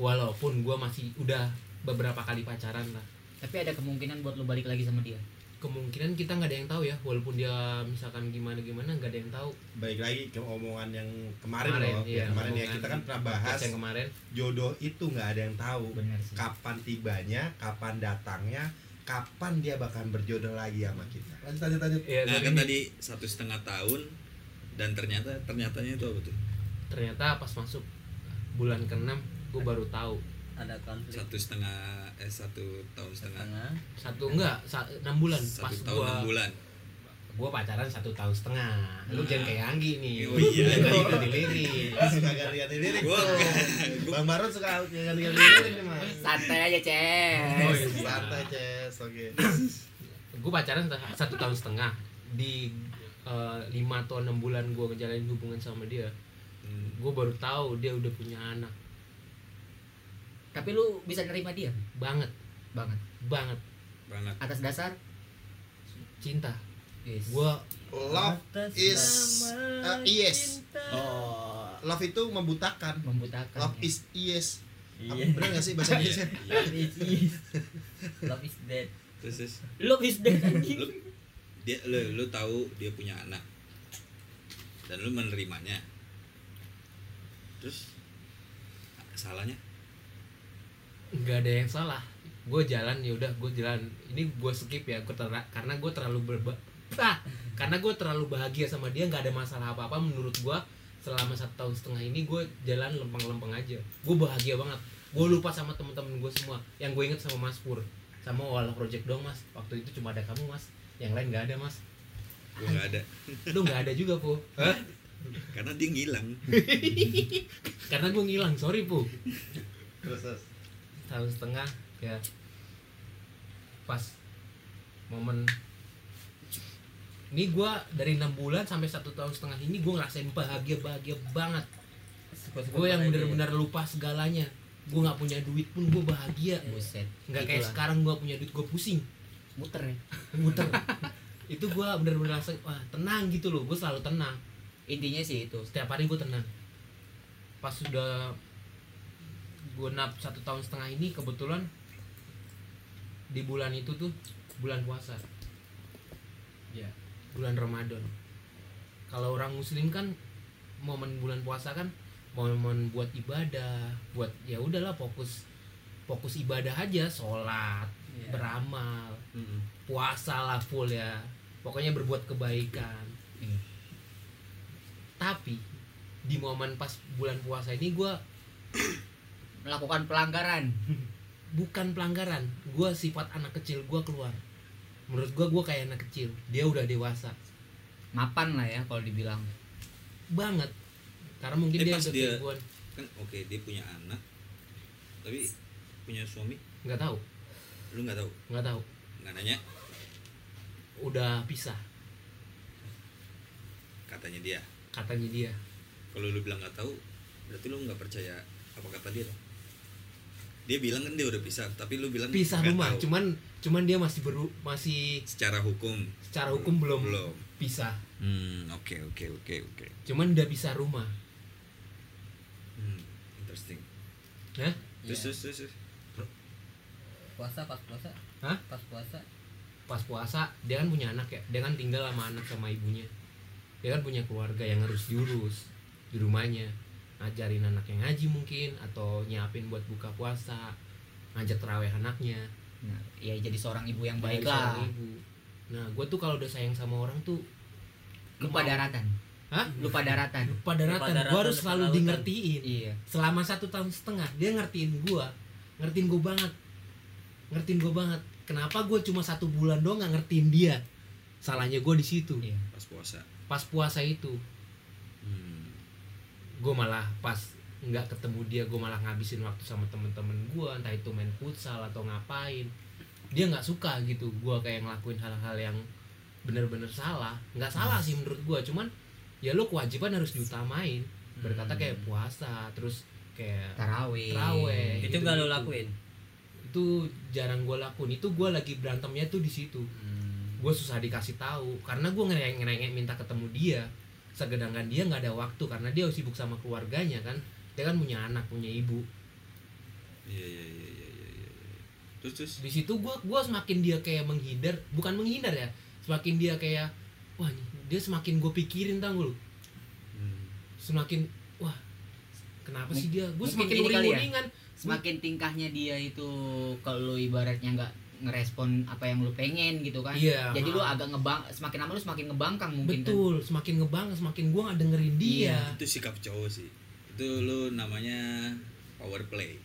Speaker 3: walaupun gue masih udah beberapa kali pacaran lah
Speaker 5: Tapi ada kemungkinan buat lu balik lagi sama dia.
Speaker 3: kemungkinan kita nggak ada yang tahu ya walaupun dia misalkan gimana gimana nggak ada yang tahu
Speaker 1: Baik lagi ke omongan yang kemarin,
Speaker 3: Kemarin,
Speaker 1: loh.
Speaker 3: iya,
Speaker 1: yang kemarin ya
Speaker 3: omongan
Speaker 1: kita kan pernah bahas
Speaker 3: podcast yang kemarin
Speaker 1: jodoh itu nggak ada yang tahu
Speaker 5: Benar sih.
Speaker 1: kapan tibanya, kapan datangnya, kapan dia bakal berjodoh lagi sama kita. Lanjut lanjut lanjut.
Speaker 3: ya,
Speaker 4: nah
Speaker 3: tapi
Speaker 4: kan tadi satu setengah tahun dan ternyata ternyatanya itu apa tuh
Speaker 3: ternyata pas masuk bulan keenam gue baru tahu
Speaker 6: ada konflik
Speaker 4: satu setengah eh satu tahun setengah
Speaker 6: setengah
Speaker 3: satu enggak sa- enam bulan pas
Speaker 4: satu tahun
Speaker 3: gua
Speaker 4: enam bulan
Speaker 3: gua pacaran satu tahun setengah
Speaker 1: Nah.
Speaker 3: lu jangan kayak Anggi nih
Speaker 4: Oh iya.
Speaker 3: Jangan gitu, dilirik.
Speaker 1: Suka ganti-ganti lirik.
Speaker 4: gua
Speaker 1: [LAUGHS] Bang Baron suka ganti-ganti lirik nih, Mas.
Speaker 5: Santai aja,
Speaker 3: Oh,
Speaker 5: Ces.
Speaker 3: iya.
Speaker 1: Santai, Ces. Oke.
Speaker 3: gue pacaran sa- satu tahun setengah di eh, lima atau enam bulan gue ngejalanin hubungan sama dia
Speaker 4: Hmm.
Speaker 3: gue baru tahu dia udah punya anak
Speaker 5: Tapi lu bisa nerima dia
Speaker 3: banget
Speaker 5: banget
Speaker 3: banget
Speaker 4: banget
Speaker 5: atas dasar
Speaker 3: cinta
Speaker 5: yes.
Speaker 3: gue
Speaker 1: Love
Speaker 6: Atas
Speaker 1: is
Speaker 6: nama
Speaker 1: uh, yes.
Speaker 6: cinta.
Speaker 1: Oh, love itu membutakan.
Speaker 5: membutakan.
Speaker 1: Love
Speaker 5: ya.
Speaker 1: is yes. Apa
Speaker 6: iya
Speaker 1: bener gak sih bahasa Indonesia?
Speaker 4: Iya.
Speaker 6: love is is love is dead
Speaker 4: terus terus
Speaker 5: Love is dead anjing.
Speaker 4: lu dia lu, lu tahu dia punya anak dan lu menerimanya terus salahnya
Speaker 3: nggak ada yang salah gue jalan ya udah gue jalan ini gue skip ya gua ter- karena gue terlalu berba Ah! karena gue terlalu bahagia sama dia nggak ada masalah apa apa menurut gue selama satu tahun setengah ini gue jalan lempeng-lempeng aja gue bahagia banget gue lupa sama temen-temen gue semua yang gue inget sama Mas Pur sama Walau Project dong Mas waktu itu cuma ada kamu Mas yang lain nggak ada Mas
Speaker 4: gua nggak ada
Speaker 3: lu nggak ada juga Pu
Speaker 4: karena dia ngilang
Speaker 3: karena gue ngilang sorry Pu
Speaker 1: Terus terus.
Speaker 3: tahun setengah ya pas momen ini gua dari enam bulan sampai satu tahun setengah ini gua ngerasain bahagia bahagia banget
Speaker 6: Suka-suka
Speaker 3: gue yang
Speaker 6: kepala
Speaker 3: benar-benar lupa segalanya gua nggak punya duit pun gue bahagia
Speaker 6: Iya.
Speaker 5: Buset.
Speaker 3: nggak kayak
Speaker 5: Itulah.
Speaker 3: sekarang gua punya duit gue pusing
Speaker 5: [LAUGHS] muter ya.
Speaker 1: [LAUGHS]
Speaker 3: muter itu gua benar-benar rasa wah tenang gitu loh gue selalu tenang
Speaker 5: Intinya sih itu.
Speaker 3: setiap hari gue tenang pas sudah gue nap satu tahun setengah ini kebetulan di bulan itu tuh bulan puasa
Speaker 6: Iya.
Speaker 3: bulan Ramadan kalau orang muslim kan momen bulan puasa kan momen buat ibadah buat ya udahlah fokus fokus ibadah aja sholat
Speaker 6: dia. Iya.
Speaker 3: beramal puasa lah full ya pokoknya berbuat kebaikan
Speaker 4: Hmm.
Speaker 5: Iya.
Speaker 3: tapi di momen pas bulan puasa ini gua
Speaker 5: Melakukan pelanggaran.
Speaker 3: bukan pelanggaran gua sifat anak kecil gua keluar menurut gua gua kayak anak kecil dia udah dewasa
Speaker 5: Mapan lah ya kalau dibilang.
Speaker 3: banget karena mungkin
Speaker 4: Eh,
Speaker 3: dia
Speaker 4: pas
Speaker 3: udah
Speaker 4: dia-
Speaker 3: keluar
Speaker 4: kan oke dia punya anak tapi punya suami
Speaker 3: nggak tahu
Speaker 4: lu nggak tahu
Speaker 3: nggak tahu
Speaker 4: nggak nanya
Speaker 3: udah pisah
Speaker 4: katanya dia
Speaker 3: katanya dia
Speaker 4: kalau lu bilang nggak tahu berarti lu nggak percaya apa kata dia dong dia bilang kan dia udah pisah tapi lu bilang
Speaker 3: pisah
Speaker 4: nggak
Speaker 3: rumah
Speaker 4: tahu.
Speaker 3: cuman cuman dia masih beru masih
Speaker 4: secara hukum
Speaker 3: secara hukum belum
Speaker 4: belum
Speaker 3: pisah
Speaker 4: hmm oke oke oke oke
Speaker 3: cuman udah pisah rumah
Speaker 4: hmm interesting
Speaker 3: Hah?
Speaker 4: terus terus terus, terus.
Speaker 6: puasa pas puasa
Speaker 3: Hah?
Speaker 6: pas puasa
Speaker 3: pas puasa dia kan punya anak ya dia kan tinggal sama anak sama ibunya dia kan punya keluarga yang harus diurus di rumahnya ngajarin anaknya ngaji mungkin atau nyiapin buat buka puasa ngajak terawih anaknya
Speaker 5: Nah, ya jadi seorang ibu yang baik
Speaker 3: Dari
Speaker 5: lah.
Speaker 3: seorang ibu. nah gue tuh kalau udah sayang sama orang tuh
Speaker 5: Lupa daratan.
Speaker 3: Hah?
Speaker 5: Lupa daratan.
Speaker 3: lupa daratan gue
Speaker 6: daratan,
Speaker 3: harus
Speaker 6: lupa
Speaker 3: selalu
Speaker 6: lautan.
Speaker 3: dingertiin
Speaker 5: Iya.
Speaker 3: selama satu tahun setengah dia ngertiin gue ngertiin gue banget ngertiin gue banget kenapa gue cuma satu bulan doang nggak ngertiin dia salahnya gue di situ
Speaker 5: Iya.
Speaker 4: pas puasa
Speaker 3: pas puasa itu
Speaker 4: hmm.
Speaker 3: gue malah pas nggak ketemu dia gue malah ngabisin waktu sama temen-temen gue entah itu main futsal atau ngapain dia nggak suka gitu gue kayak ngelakuin hal-hal yang bener-bener salah nggak salah sih menurut gue cuman ya lo kewajiban harus diutamain berkata kayak
Speaker 6: Hmm.
Speaker 3: puasa terus kayak
Speaker 5: Tarawih.
Speaker 3: Tarawih.
Speaker 7: itu
Speaker 3: gitu,
Speaker 7: gak lo
Speaker 3: gitu.
Speaker 7: lakuin
Speaker 3: itu jarang gue lakuin itu gue lagi berantemnya tuh di situ gue susah dikasih tahu karena gue ngerengek ngerengek minta ketemu dia sedangkan dia nggak ada waktu karena dia sibuk sama keluarganya kan dia kan punya anak punya ibu
Speaker 4: iya iya iya iya iya iya. terus terus
Speaker 3: di situ gue gua semakin dia kayak menghindar bukan menghindar ya semakin dia kayak wah dia semakin gue pikirin tau nggak lu
Speaker 4: Hmm.
Speaker 3: semakin wah kenapa sih dia gue
Speaker 5: Mungkin
Speaker 3: semakin
Speaker 5: ini kali ya?
Speaker 3: uring-uringan
Speaker 5: Semakin tingkahnya dia itu kalau lu ibaratnya nggak ngerespon apa yang lu pengen gitu kan.
Speaker 3: iya
Speaker 5: Jadi lu
Speaker 3: ha.
Speaker 5: agak ngebang semakin lama lu semakin ngebangkang mungkin kan.
Speaker 3: betul semakin ngebang semakin gue nggak dengerin dia
Speaker 5: Iya.
Speaker 4: itu sikap cowok sih itu lu namanya power play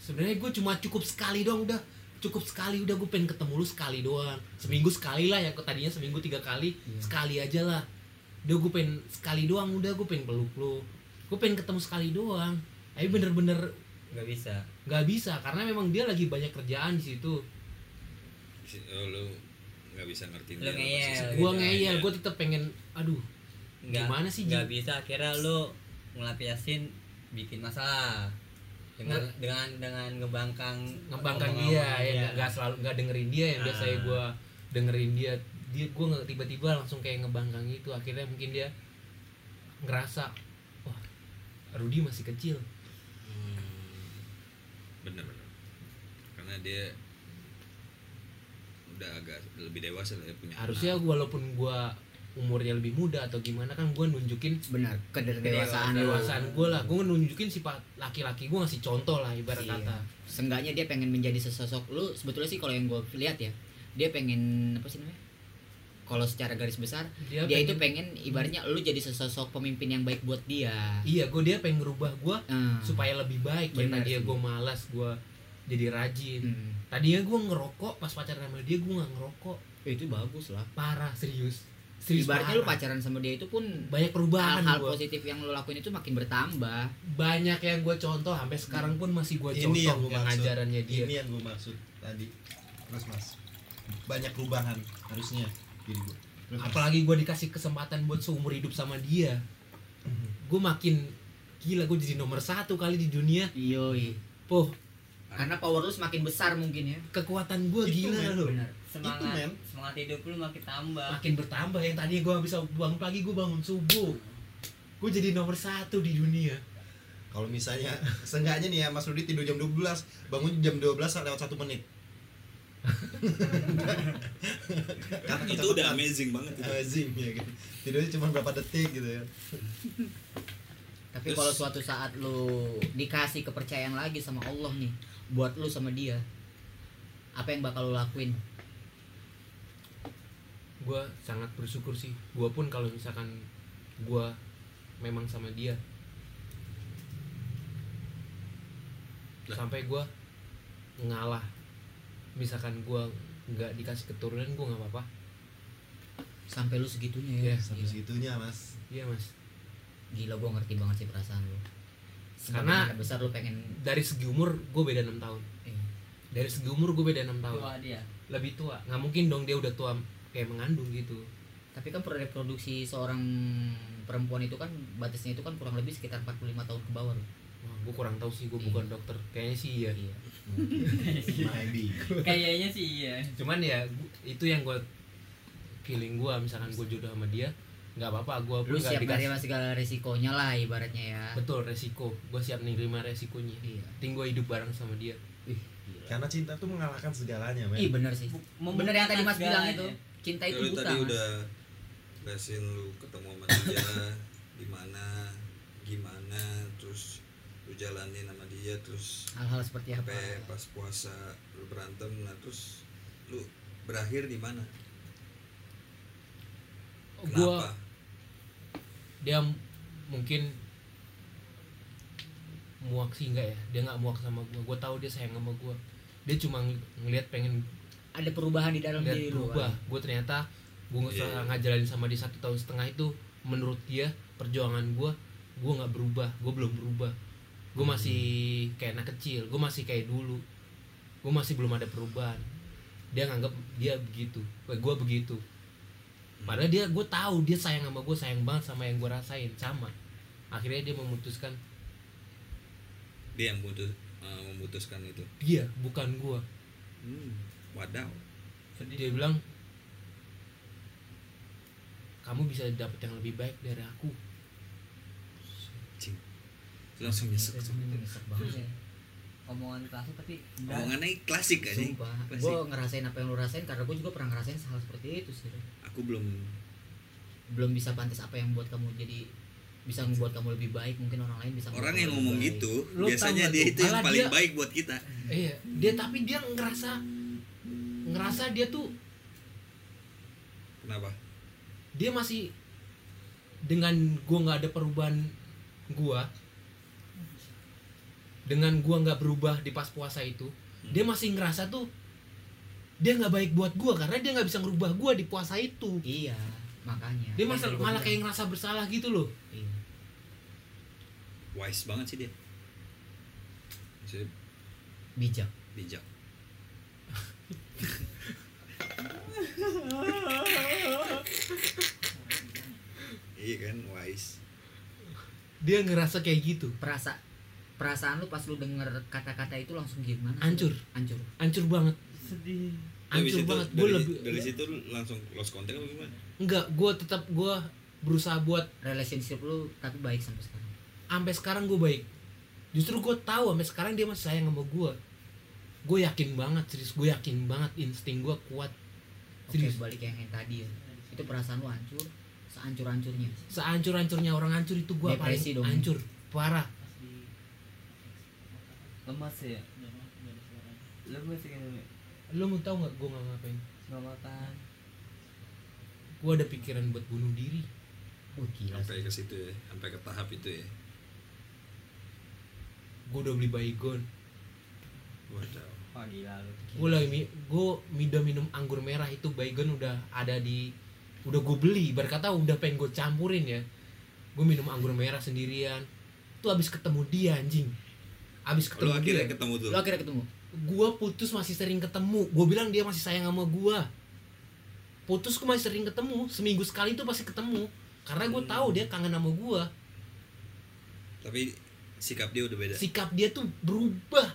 Speaker 3: sebenarnya gue cuma cukup sekali doang udah cukup sekali udah gue pengen ketemu lu sekali doang seminggu sekali lah ya kok tadinya seminggu tiga kali
Speaker 5: Iya.
Speaker 3: sekali aja lah udah gue pengen sekali doang udah gue pengen peluk lu gue pengen ketemu sekali doang tapi bener-bener
Speaker 7: gak bisa
Speaker 3: nggak bisa karena memang dia lagi banyak kerjaan di situ
Speaker 4: Si- oh, lu nggak bisa ngerti
Speaker 7: Lu ngeyel.
Speaker 4: Iya,
Speaker 3: gue gitu. ngeyel gue tetap pengen aduh
Speaker 7: Nggak-
Speaker 3: Gimana sih,
Speaker 7: nggak
Speaker 3: Ji?
Speaker 7: bisa akhirnya lo ngelapiasin bikin masalah dengan
Speaker 3: Nggak.
Speaker 7: dengan dengan ngebangkang
Speaker 3: ngembangkan
Speaker 7: omongan-
Speaker 3: dia ya
Speaker 7: iya.
Speaker 3: nggak- nggak selalu nggak dengerin dia yang
Speaker 7: Ah.
Speaker 3: biasanya gue dengerin dia dia gue nggak tiba-tiba langsung kayak ngebangkang gitu akhirnya mungkin dia ngerasa wah Rudi masih kecil
Speaker 4: Hmm, bener bener karena dia udah agak lebih dewasa lah ya punya
Speaker 3: harusnya
Speaker 4: anak.
Speaker 3: walaupun gue umurnya lebih muda atau gimana kan gue nunjukin
Speaker 5: Benar, kedewasaan lu.
Speaker 3: kedewasaan gue lah gue nunjukin sifat laki-laki gue ngasih contoh lah ibarat
Speaker 5: Iya.
Speaker 3: kata
Speaker 5: Seenggaknya dia pengen menjadi sesosok lu sebetulnya sih kalau yang gua lihat ya, dia pengen apa sih namanya? Kalau secara garis besar,
Speaker 3: dia, Ya, pengen-
Speaker 5: dia itu pengen ibaratnya lu jadi sesosok pemimpin yang baik buat dia.
Speaker 3: iya gue dia pengen ngerubah gue
Speaker 5: Hmm.
Speaker 3: supaya lebih baik ya
Speaker 5: Benar
Speaker 3: tadi
Speaker 5: sih.
Speaker 3: gue malas gue jadi rajin
Speaker 5: Hmm.
Speaker 3: tadinya gue ngerokok pas pacaran sama dia gue nggak ngerokok
Speaker 5: Ya, itu bagus lah.
Speaker 3: parah serius serius
Speaker 5: Ibaratnya lu
Speaker 3: parah.
Speaker 5: pacaran sama dia itu pun
Speaker 3: banyak perubahan
Speaker 5: hal-hal
Speaker 3: gua.
Speaker 5: positif yang lu lakuin itu makin bertambah.
Speaker 3: banyak yang gue contoh sampai sekarang pun masih gue
Speaker 1: Ini
Speaker 3: contoh
Speaker 1: yang
Speaker 3: yang,
Speaker 1: gua maksud.
Speaker 3: ajarannya dia
Speaker 1: ini yang gue maksud tadi terus Iya. mas banyak perubahan harusnya diri gue terus Mas.
Speaker 3: apalagi gue dikasih kesempatan buat seumur hidup sama dia
Speaker 5: Hmm.
Speaker 3: gue makin gila gue jadi nomor satu kali di dunia
Speaker 5: Yoi.
Speaker 3: poh
Speaker 5: Karena power lu semakin besar mungkin ya.
Speaker 3: kekuatan gue
Speaker 1: Itu
Speaker 3: gila
Speaker 1: men.
Speaker 3: loh
Speaker 7: Benar. semangat
Speaker 1: men.
Speaker 7: semangat hidup lu makin tambah
Speaker 3: makin bertambah yang tadinya gue bisa bangun pagi gue bangun subuh gue jadi nomor satu di dunia
Speaker 1: kalau [LAUGHS] misalnya seenggaknya nih ya Mas Rudi tidur jam 12 bangun jam 12 lewat satu [LAUGHS] menit Karena
Speaker 4: itu
Speaker 1: kecepatan.
Speaker 4: udah amazing banget itu.
Speaker 1: Amazing, ya kan tidurnya cuma berapa detik gitu ya
Speaker 5: Tapi
Speaker 4: Terus-
Speaker 5: kalau suatu saat lu dikasih kepercayaan lagi sama Allah nih buat lu sama dia. Apa yang bakal lu lakuin?
Speaker 3: gue sangat bersyukur sih gue pun kalau misalkan gue memang sama dia
Speaker 4: Lah.
Speaker 3: sampai gue ngalah misalkan gue nggak dikasih keturunan gue nggak apa-apa
Speaker 5: Sampai lu segitunya ya.
Speaker 3: Iya,
Speaker 1: sampai
Speaker 5: Gila.
Speaker 1: segitunya Mas
Speaker 3: iya mas
Speaker 5: Gila gua ngerti banget sih perasaan lu.
Speaker 3: Karena-
Speaker 5: Karena besar lu pengen
Speaker 3: dari segi umur gue beda enam tahun
Speaker 5: Iya.
Speaker 3: dari segi umur gue beda enam tahun
Speaker 7: tua dia
Speaker 3: lebih tua nggak mungkin dong dia udah tua kayak mengandung gitu
Speaker 5: Tapi kan reproduksi seorang perempuan itu kan batasnya itu kan kurang lebih sekitar 45 tahun ke bawah. loh.
Speaker 3: Wah, gue kurang tahu sih gue bukan dokter kayaknya sih iya
Speaker 5: Iya.
Speaker 1: [LAUGHS] maybe
Speaker 7: kayaknya sih iya
Speaker 3: cuman ya gu- itu yang gue feeling gue misalkan gue jodoh sama dia nggak apa-apa gue pun
Speaker 5: Lu
Speaker 3: nggak
Speaker 5: siap
Speaker 3: dikasih
Speaker 5: menerima segala resikonya lah ibaratnya ya.
Speaker 3: betul resiko gue siap nerima resikonya
Speaker 5: Iya.
Speaker 3: penting gue hidup bareng sama dia
Speaker 1: karena cinta tuh mengalahkan segalanya men
Speaker 5: Ih bener sih. Bener yang tadi Mas bilang itu.
Speaker 7: ya.
Speaker 3: ya.
Speaker 5: Cinta itu
Speaker 4: lu
Speaker 5: buta.
Speaker 4: tadi
Speaker 5: Mas.
Speaker 4: udah jelasin lu ketemu sama dia di mana gimana terus lu jalanin sama dia terus
Speaker 5: Hal-hal seperti apa?
Speaker 4: sampai pas puasa lu berantem nah terus lu berakhir di mana
Speaker 5: Oh,
Speaker 3: gue
Speaker 4: kenapa
Speaker 3: dia m- mungkin muak sih enggak ya dia nggak muak sama gue gue tahu dia sayang sama gue dia cuma ng- ngelihat pengen
Speaker 5: ada perubahan di dalam
Speaker 3: dan
Speaker 5: diri lu
Speaker 3: berubah
Speaker 5: kan?
Speaker 3: gue ternyata gue nggak
Speaker 4: Iya.
Speaker 3: nggak jalanin sama dia satu tahun setengah itu menurut dia perjuangan gue gue nggak berubah gue belum berubah gue masih kayak anak kecil gue masih kayak dulu gue masih belum ada perubahan dia nganggap dia begitu gue begitu padahal dia gue tahu dia sayang sama gue sayang banget sama yang gue rasain sama akhirnya dia memutuskan
Speaker 4: dia yang putus, eh, memutuskan itu
Speaker 3: dia bukan gue
Speaker 4: hmm, wadaw
Speaker 3: dia bilang kamu bisa dapat yang lebih baik dari aku
Speaker 4: langsung nyesek
Speaker 5: Nyesek banget ya.
Speaker 7: omongan klasik tapi
Speaker 4: omongannya klasik kan aja
Speaker 5: Sumpah,
Speaker 4: Pasti.
Speaker 5: gue ngerasain apa yang lu rasain karena gue juga pernah ngerasain hal seperti itu sih.
Speaker 4: aku belum
Speaker 5: Belum bisa pantas apa yang buat kamu jadi bisa membuat kamu lebih baik mungkin orang lain bisa
Speaker 4: orang
Speaker 5: membuat
Speaker 4: yang
Speaker 5: kamu
Speaker 4: ngomong
Speaker 5: lebih baik.
Speaker 4: gitu
Speaker 3: Lu tahu
Speaker 4: biasanya dia
Speaker 3: gak
Speaker 4: itu
Speaker 3: tuh?
Speaker 4: yang
Speaker 3: Malah
Speaker 4: paling
Speaker 3: dia-
Speaker 4: baik buat kita
Speaker 3: Iya, dia tapi dia ngerasa ngerasa dia tuh
Speaker 4: kenapa
Speaker 3: dia masih dengan gua nggak ada perubahan gua dengan gua nggak berubah di pas puasa itu
Speaker 4: Hmm.
Speaker 3: dia masih ngerasa tuh dia nggak baik buat gua karena dia nggak bisa ngerubah gua di puasa itu
Speaker 5: Iya, makanya.
Speaker 3: dia
Speaker 4: Iya,
Speaker 5: Yang
Speaker 3: masa,
Speaker 5: tadi gua
Speaker 3: malah
Speaker 5: bilang.
Speaker 3: kayak ngerasa bersalah gitu loh
Speaker 5: Iya.
Speaker 4: wise banget sih dia Maksudnya
Speaker 5: bijak.
Speaker 4: bijak [LAUGHS] iya kan wise
Speaker 3: dia ngerasa kayak gitu
Speaker 5: Perasa perasaan lu pas lu denger kata-kata itu langsung gimana? sih?
Speaker 3: Hancur.
Speaker 5: hancur.
Speaker 3: hancur banget
Speaker 6: sedih
Speaker 4: Dari
Speaker 3: hancur
Speaker 4: situ-
Speaker 3: banget gue
Speaker 4: dari,
Speaker 3: lebih
Speaker 4: dari situ lu langsung lost contact apa gimana
Speaker 3: enggak gue tetap gue berusaha buat
Speaker 5: Relationship lu tapi baik sampai sekarang.
Speaker 3: sampai sekarang gue baik justru gue tahu sampai sekarang dia masih sayang sama gue gue yakin banget serius gue yakin banget insting gue kuat
Speaker 5: Oke,
Speaker 3: Serius.
Speaker 5: balik yang, yang tadi ya. Itu perasaan lu hancur, sehancur-hancurnya.
Speaker 3: seancur ancurnya orang hancur itu gue paling
Speaker 5: Depresi dong.
Speaker 3: hancur parah
Speaker 6: lemas ya lemas ya kan
Speaker 3: lo mau tau nggak gue nggak ngapain
Speaker 6: nggak makan
Speaker 3: gue ada pikiran buat bunuh diri Oh,
Speaker 5: Uh,
Speaker 3: Iya.
Speaker 5: gila.
Speaker 4: sampai ke situ ya sampai ke tahap itu ya
Speaker 3: gue udah beli baygon
Speaker 4: waduh
Speaker 6: wah gila lu
Speaker 3: gue lagi mi gue udah minum anggur merah itu baygon udah ada di udah gue beli berkata udah pengen gue campurin ya gue minum anggur merah sendirian tuh abis ketemu dia anjing abis
Speaker 4: lu
Speaker 3: ketemu dia
Speaker 4: akhirnya ketemu tuh
Speaker 5: Lu akhirnya ketemu.
Speaker 3: gua putus masih sering ketemu gua bilang dia masih sayang sama gua putus gua masih sering ketemu seminggu sekali itu pasti ketemu karena gua
Speaker 4: Hmm.
Speaker 3: tahu dia kangen sama gua
Speaker 4: tapi sikap dia udah beda
Speaker 5: Ya.
Speaker 3: sikap dia tuh berubah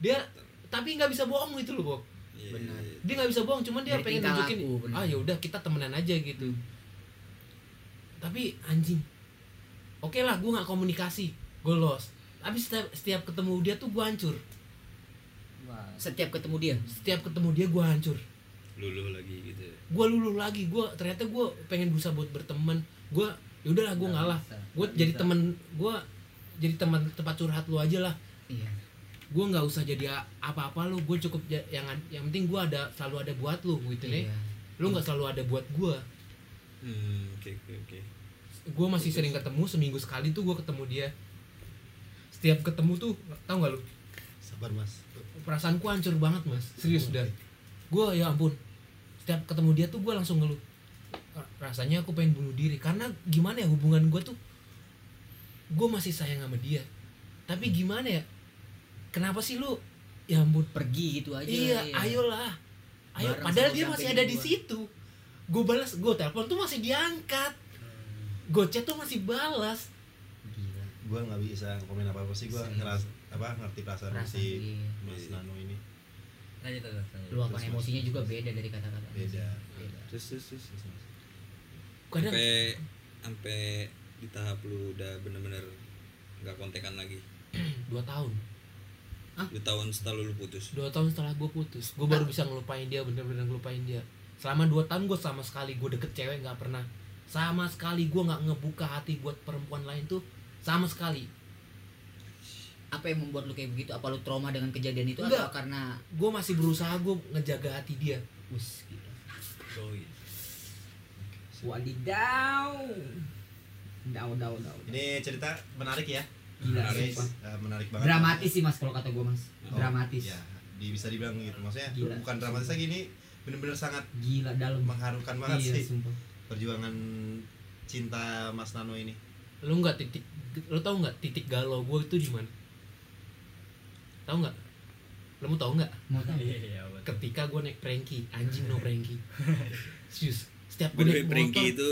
Speaker 3: dia tapi nggak bisa bohong gitu loh Bob
Speaker 4: Iya,
Speaker 5: benar.
Speaker 4: iya, iya.
Speaker 3: dia nggak bisa bohong cuman dia
Speaker 5: Dari
Speaker 3: pengen
Speaker 5: tingkah
Speaker 3: nunjukin
Speaker 5: laku, Hmm. benar.
Speaker 3: ah ya udah kita temenan aja gitu tapi anjing oke lah gua nggak komunikasi gue lost tapi setiap, setiap ketemu dia tuh gua hancur
Speaker 6: wah
Speaker 5: Setiap ketemu dia,
Speaker 3: setiap ketemu dia gua hancur
Speaker 4: luluh lagi gitu
Speaker 3: gue lulu lagi gue ternyata gue pengen berusaha buat berteman gue yaudahlah gue
Speaker 6: Nggak
Speaker 3: ngalah
Speaker 6: bisa,
Speaker 3: gue
Speaker 6: nggak
Speaker 3: jadi
Speaker 6: Nah, bisa.
Speaker 3: teman gue jadi teman tempat curhat lu aja lah
Speaker 5: iya.
Speaker 3: gue nggak usah jadi a- apa-apa lu gue cukup ja- yang ad- yang penting gue ada selalu ada buat lu gitu nih
Speaker 5: Iya.
Speaker 3: lu nggak selalu ada buat gue
Speaker 4: hmm oke oke oke
Speaker 3: gue masih sering ketemu seminggu sekali tuh gue ketemu dia setiap ketemu tuh tau nggak lu
Speaker 1: sabar mas
Speaker 3: perasaanku hancur banget mas serius dan gue ya ampun setiap ketemu dia tuh gue langsung ngeluh "Ra- rasanya aku pengen bunuh diri karena gimana ya hubungan gue tuh gue masih sayang sama dia tapi
Speaker 5: Hmm.
Speaker 3: gimana ya kenapa sih lu ya ampun
Speaker 5: Pergi gitu aja.
Speaker 3: iya ayolah ayo
Speaker 5: Bareng
Speaker 3: padahal
Speaker 5: sama
Speaker 3: dia masih
Speaker 5: samping
Speaker 3: ada di
Speaker 5: gua.
Speaker 3: situ gue balas gue telepon tuh masih diangkat
Speaker 5: Hmm.
Speaker 3: gue chat tuh masih balas
Speaker 5: Gila.
Speaker 1: gue nggak bisa komen apa apa sih gue
Speaker 5: Serius.
Speaker 1: ngeras apa ngerti perasaan
Speaker 5: Perasaan
Speaker 1: si
Speaker 5: dia.
Speaker 1: mas
Speaker 4: Iya.
Speaker 1: Nano ini
Speaker 7: lanjut terus lanjut.
Speaker 5: luapan
Speaker 1: Terus,
Speaker 5: emosinya juga beda dari kata-kata
Speaker 1: beda
Speaker 5: Beda.
Speaker 4: terus terus terus terus, Mas.
Speaker 3: kadang
Speaker 4: sampai sampai di tahap lu udah bener-bener nggak kontekan lagi
Speaker 3: dua tahun
Speaker 4: di tahun setelah lu putus
Speaker 3: dua tahun setelah gue putus gue baru bisa ngelupain dia bener-bener ngelupain dia selama dua tahun gue sama sekali gue deket cewek nggak pernah sama sekali gue nggak ngebuka hati buat perempuan lain tuh sama sekali
Speaker 5: apa yang membuat lu kayak begitu apa lu trauma dengan kejadian itu
Speaker 3: Enggak.
Speaker 5: atau karena
Speaker 3: gue masih berusaha gue ngejaga hati dia
Speaker 5: us gitu
Speaker 3: Oh, iya.
Speaker 7: wadidaw daw daw daw
Speaker 1: ini cerita menarik ya
Speaker 5: Gila,
Speaker 4: Iya,
Speaker 1: menarik,
Speaker 5: sumpah.
Speaker 1: eh, menarik banget
Speaker 5: dramatis sih mas kalau kata gue mas
Speaker 1: Oh,
Speaker 5: dramatis
Speaker 1: ya, di bisa dibilang gitu maksudnya
Speaker 3: Gila.
Speaker 1: bukan dramatis lagi ini bener-bener sangat
Speaker 3: gila dalam
Speaker 1: mengharukan banget
Speaker 3: Iya,
Speaker 1: sih
Speaker 3: sumpah.
Speaker 1: perjuangan cinta Mas Nano ini
Speaker 3: lu nggak titik lu tau nggak titik galau gue itu di mana tau nggak lu mau tau nggak
Speaker 5: mau tahu
Speaker 6: Iya, iya, betul.
Speaker 3: ketika gue naik pranky anjing no pranky serius setiap gue
Speaker 4: By the way,
Speaker 3: naik
Speaker 4: Pringki
Speaker 3: motor
Speaker 4: itu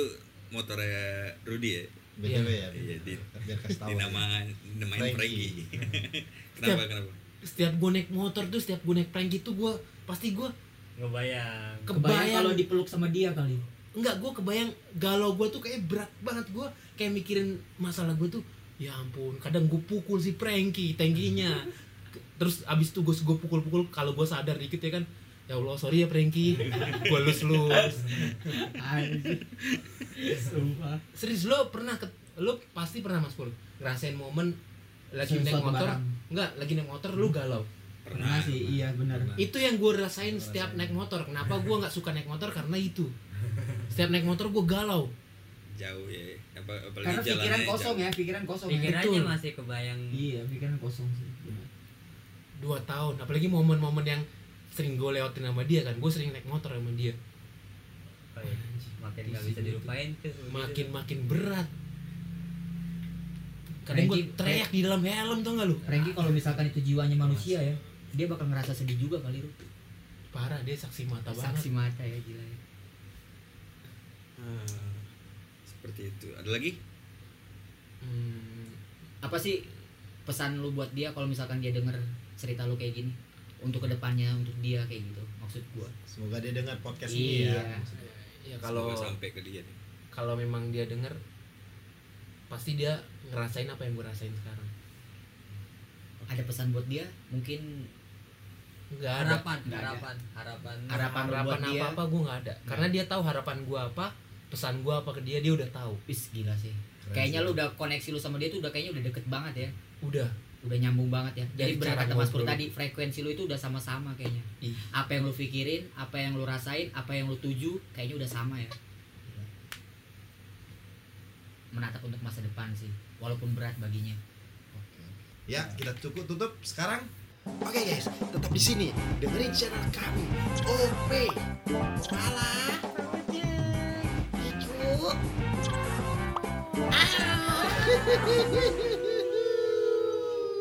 Speaker 4: motornya Rudy ya.
Speaker 1: btw ya
Speaker 4: Iya, di-
Speaker 1: biar kasih tahu
Speaker 4: Dinama dinamain
Speaker 1: Pringki.
Speaker 4: Pringki. kenapa kenapa?
Speaker 3: setiap gue naik motor tuh setiap gue naik pranky tuh gue pasti gue
Speaker 6: Ngebayang.
Speaker 5: kebayang
Speaker 3: kebayang
Speaker 5: kalau dipeluk sama dia kali
Speaker 3: enggak gue kebayang galau gue tuh kayak berat banget gue kayak mikirin masalah gue tuh ya ampun kadang gue pukul si Frankie tankinya Ke- terus abis itu gue gue pukul-pukul kalau gue sadar dikit ya kan ya Allah sorry ya Frankie gue lus lus
Speaker 5: Anjir. sumpah
Speaker 3: serius lo pernah ke, lo pasti pernah mas Pur ngerasain momen lagi naik
Speaker 5: Sesuatu
Speaker 3: motor
Speaker 5: barang.
Speaker 3: enggak lagi naik motor lu galau
Speaker 5: pernah
Speaker 4: Pernah.
Speaker 5: sih iya benar
Speaker 3: itu yang gue rasain setiap naik motor kenapa gue nggak suka naik motor karena itu setiap naik motor gue galau
Speaker 4: Jauh ya. Apa apalagi
Speaker 5: karena pikiran
Speaker 4: jalannya
Speaker 5: kosong
Speaker 4: jauh.
Speaker 5: ya pikiran kosong ya.
Speaker 7: Pikirannya
Speaker 3: Betul.
Speaker 7: masih kebayang
Speaker 5: iya pikiran kosong sih benar.
Speaker 3: dua tahun apalagi momen-momen yang sering gue lewatin sama dia kan gue sering naik motor sama dia
Speaker 7: Oh, iya. makin nggak bisa dilupain tuh.
Speaker 6: Iya.
Speaker 3: makin makin berat kadang gue
Speaker 5: Frankie-
Speaker 3: teriak di dalam helm tau gak lu
Speaker 5: Frankie kalau misalkan itu jiwanya manusia ya dia bakal ngerasa sedih juga kali lu
Speaker 3: parah dia saksi mata
Speaker 5: saksi mata ya gila ya.
Speaker 4: Ah, Seperti itu. Ada lagi?
Speaker 3: banget hmm,
Speaker 5: apa sih pesan lu buat dia kalau misalkan dia denger cerita lu kayak gini untuk kedepannya untuk dia kayak gitu maksud gua
Speaker 1: semoga dia dengar podcast ini
Speaker 5: iya
Speaker 1: ya
Speaker 3: ya kalau
Speaker 4: Semoga sampai ke dia. nih.
Speaker 3: kalau memang dia denger pasti dia ngerasain apa yang gue rasain sekarang
Speaker 5: ada pesan buat dia mungkin
Speaker 3: nggak ada
Speaker 7: harapan,
Speaker 5: Nggak ada.
Speaker 7: harapan, harapan.
Speaker 5: harapan, lu buat
Speaker 3: harapan
Speaker 5: dia
Speaker 3: apa apa gue nggak ada karena dia tahu harapan gue apa pesan gue apa ke dia dia udah tahu
Speaker 5: Wis, gila sih kayaknya lu udah koneksi lu sama dia tuh udah kayaknya udah deket banget ya
Speaker 3: udah
Speaker 5: udah nyambung banget ya
Speaker 3: Dari
Speaker 5: jadi
Speaker 3: cara
Speaker 5: benar kata Mas Pur
Speaker 3: ngobrol.
Speaker 5: tadi frekuensi lu itu udah sama-sama kayaknya
Speaker 3: Ih.
Speaker 5: apa yang lu pikirin apa yang lu rasain apa yang lu tuju kayaknya udah sama ya menatap untuk masa depan sih walaupun berat baginya
Speaker 1: ya kita cukup tutup sekarang oke guys tetap di sini dengerin channel kami OP
Speaker 2: Malah. Kicu. Ah.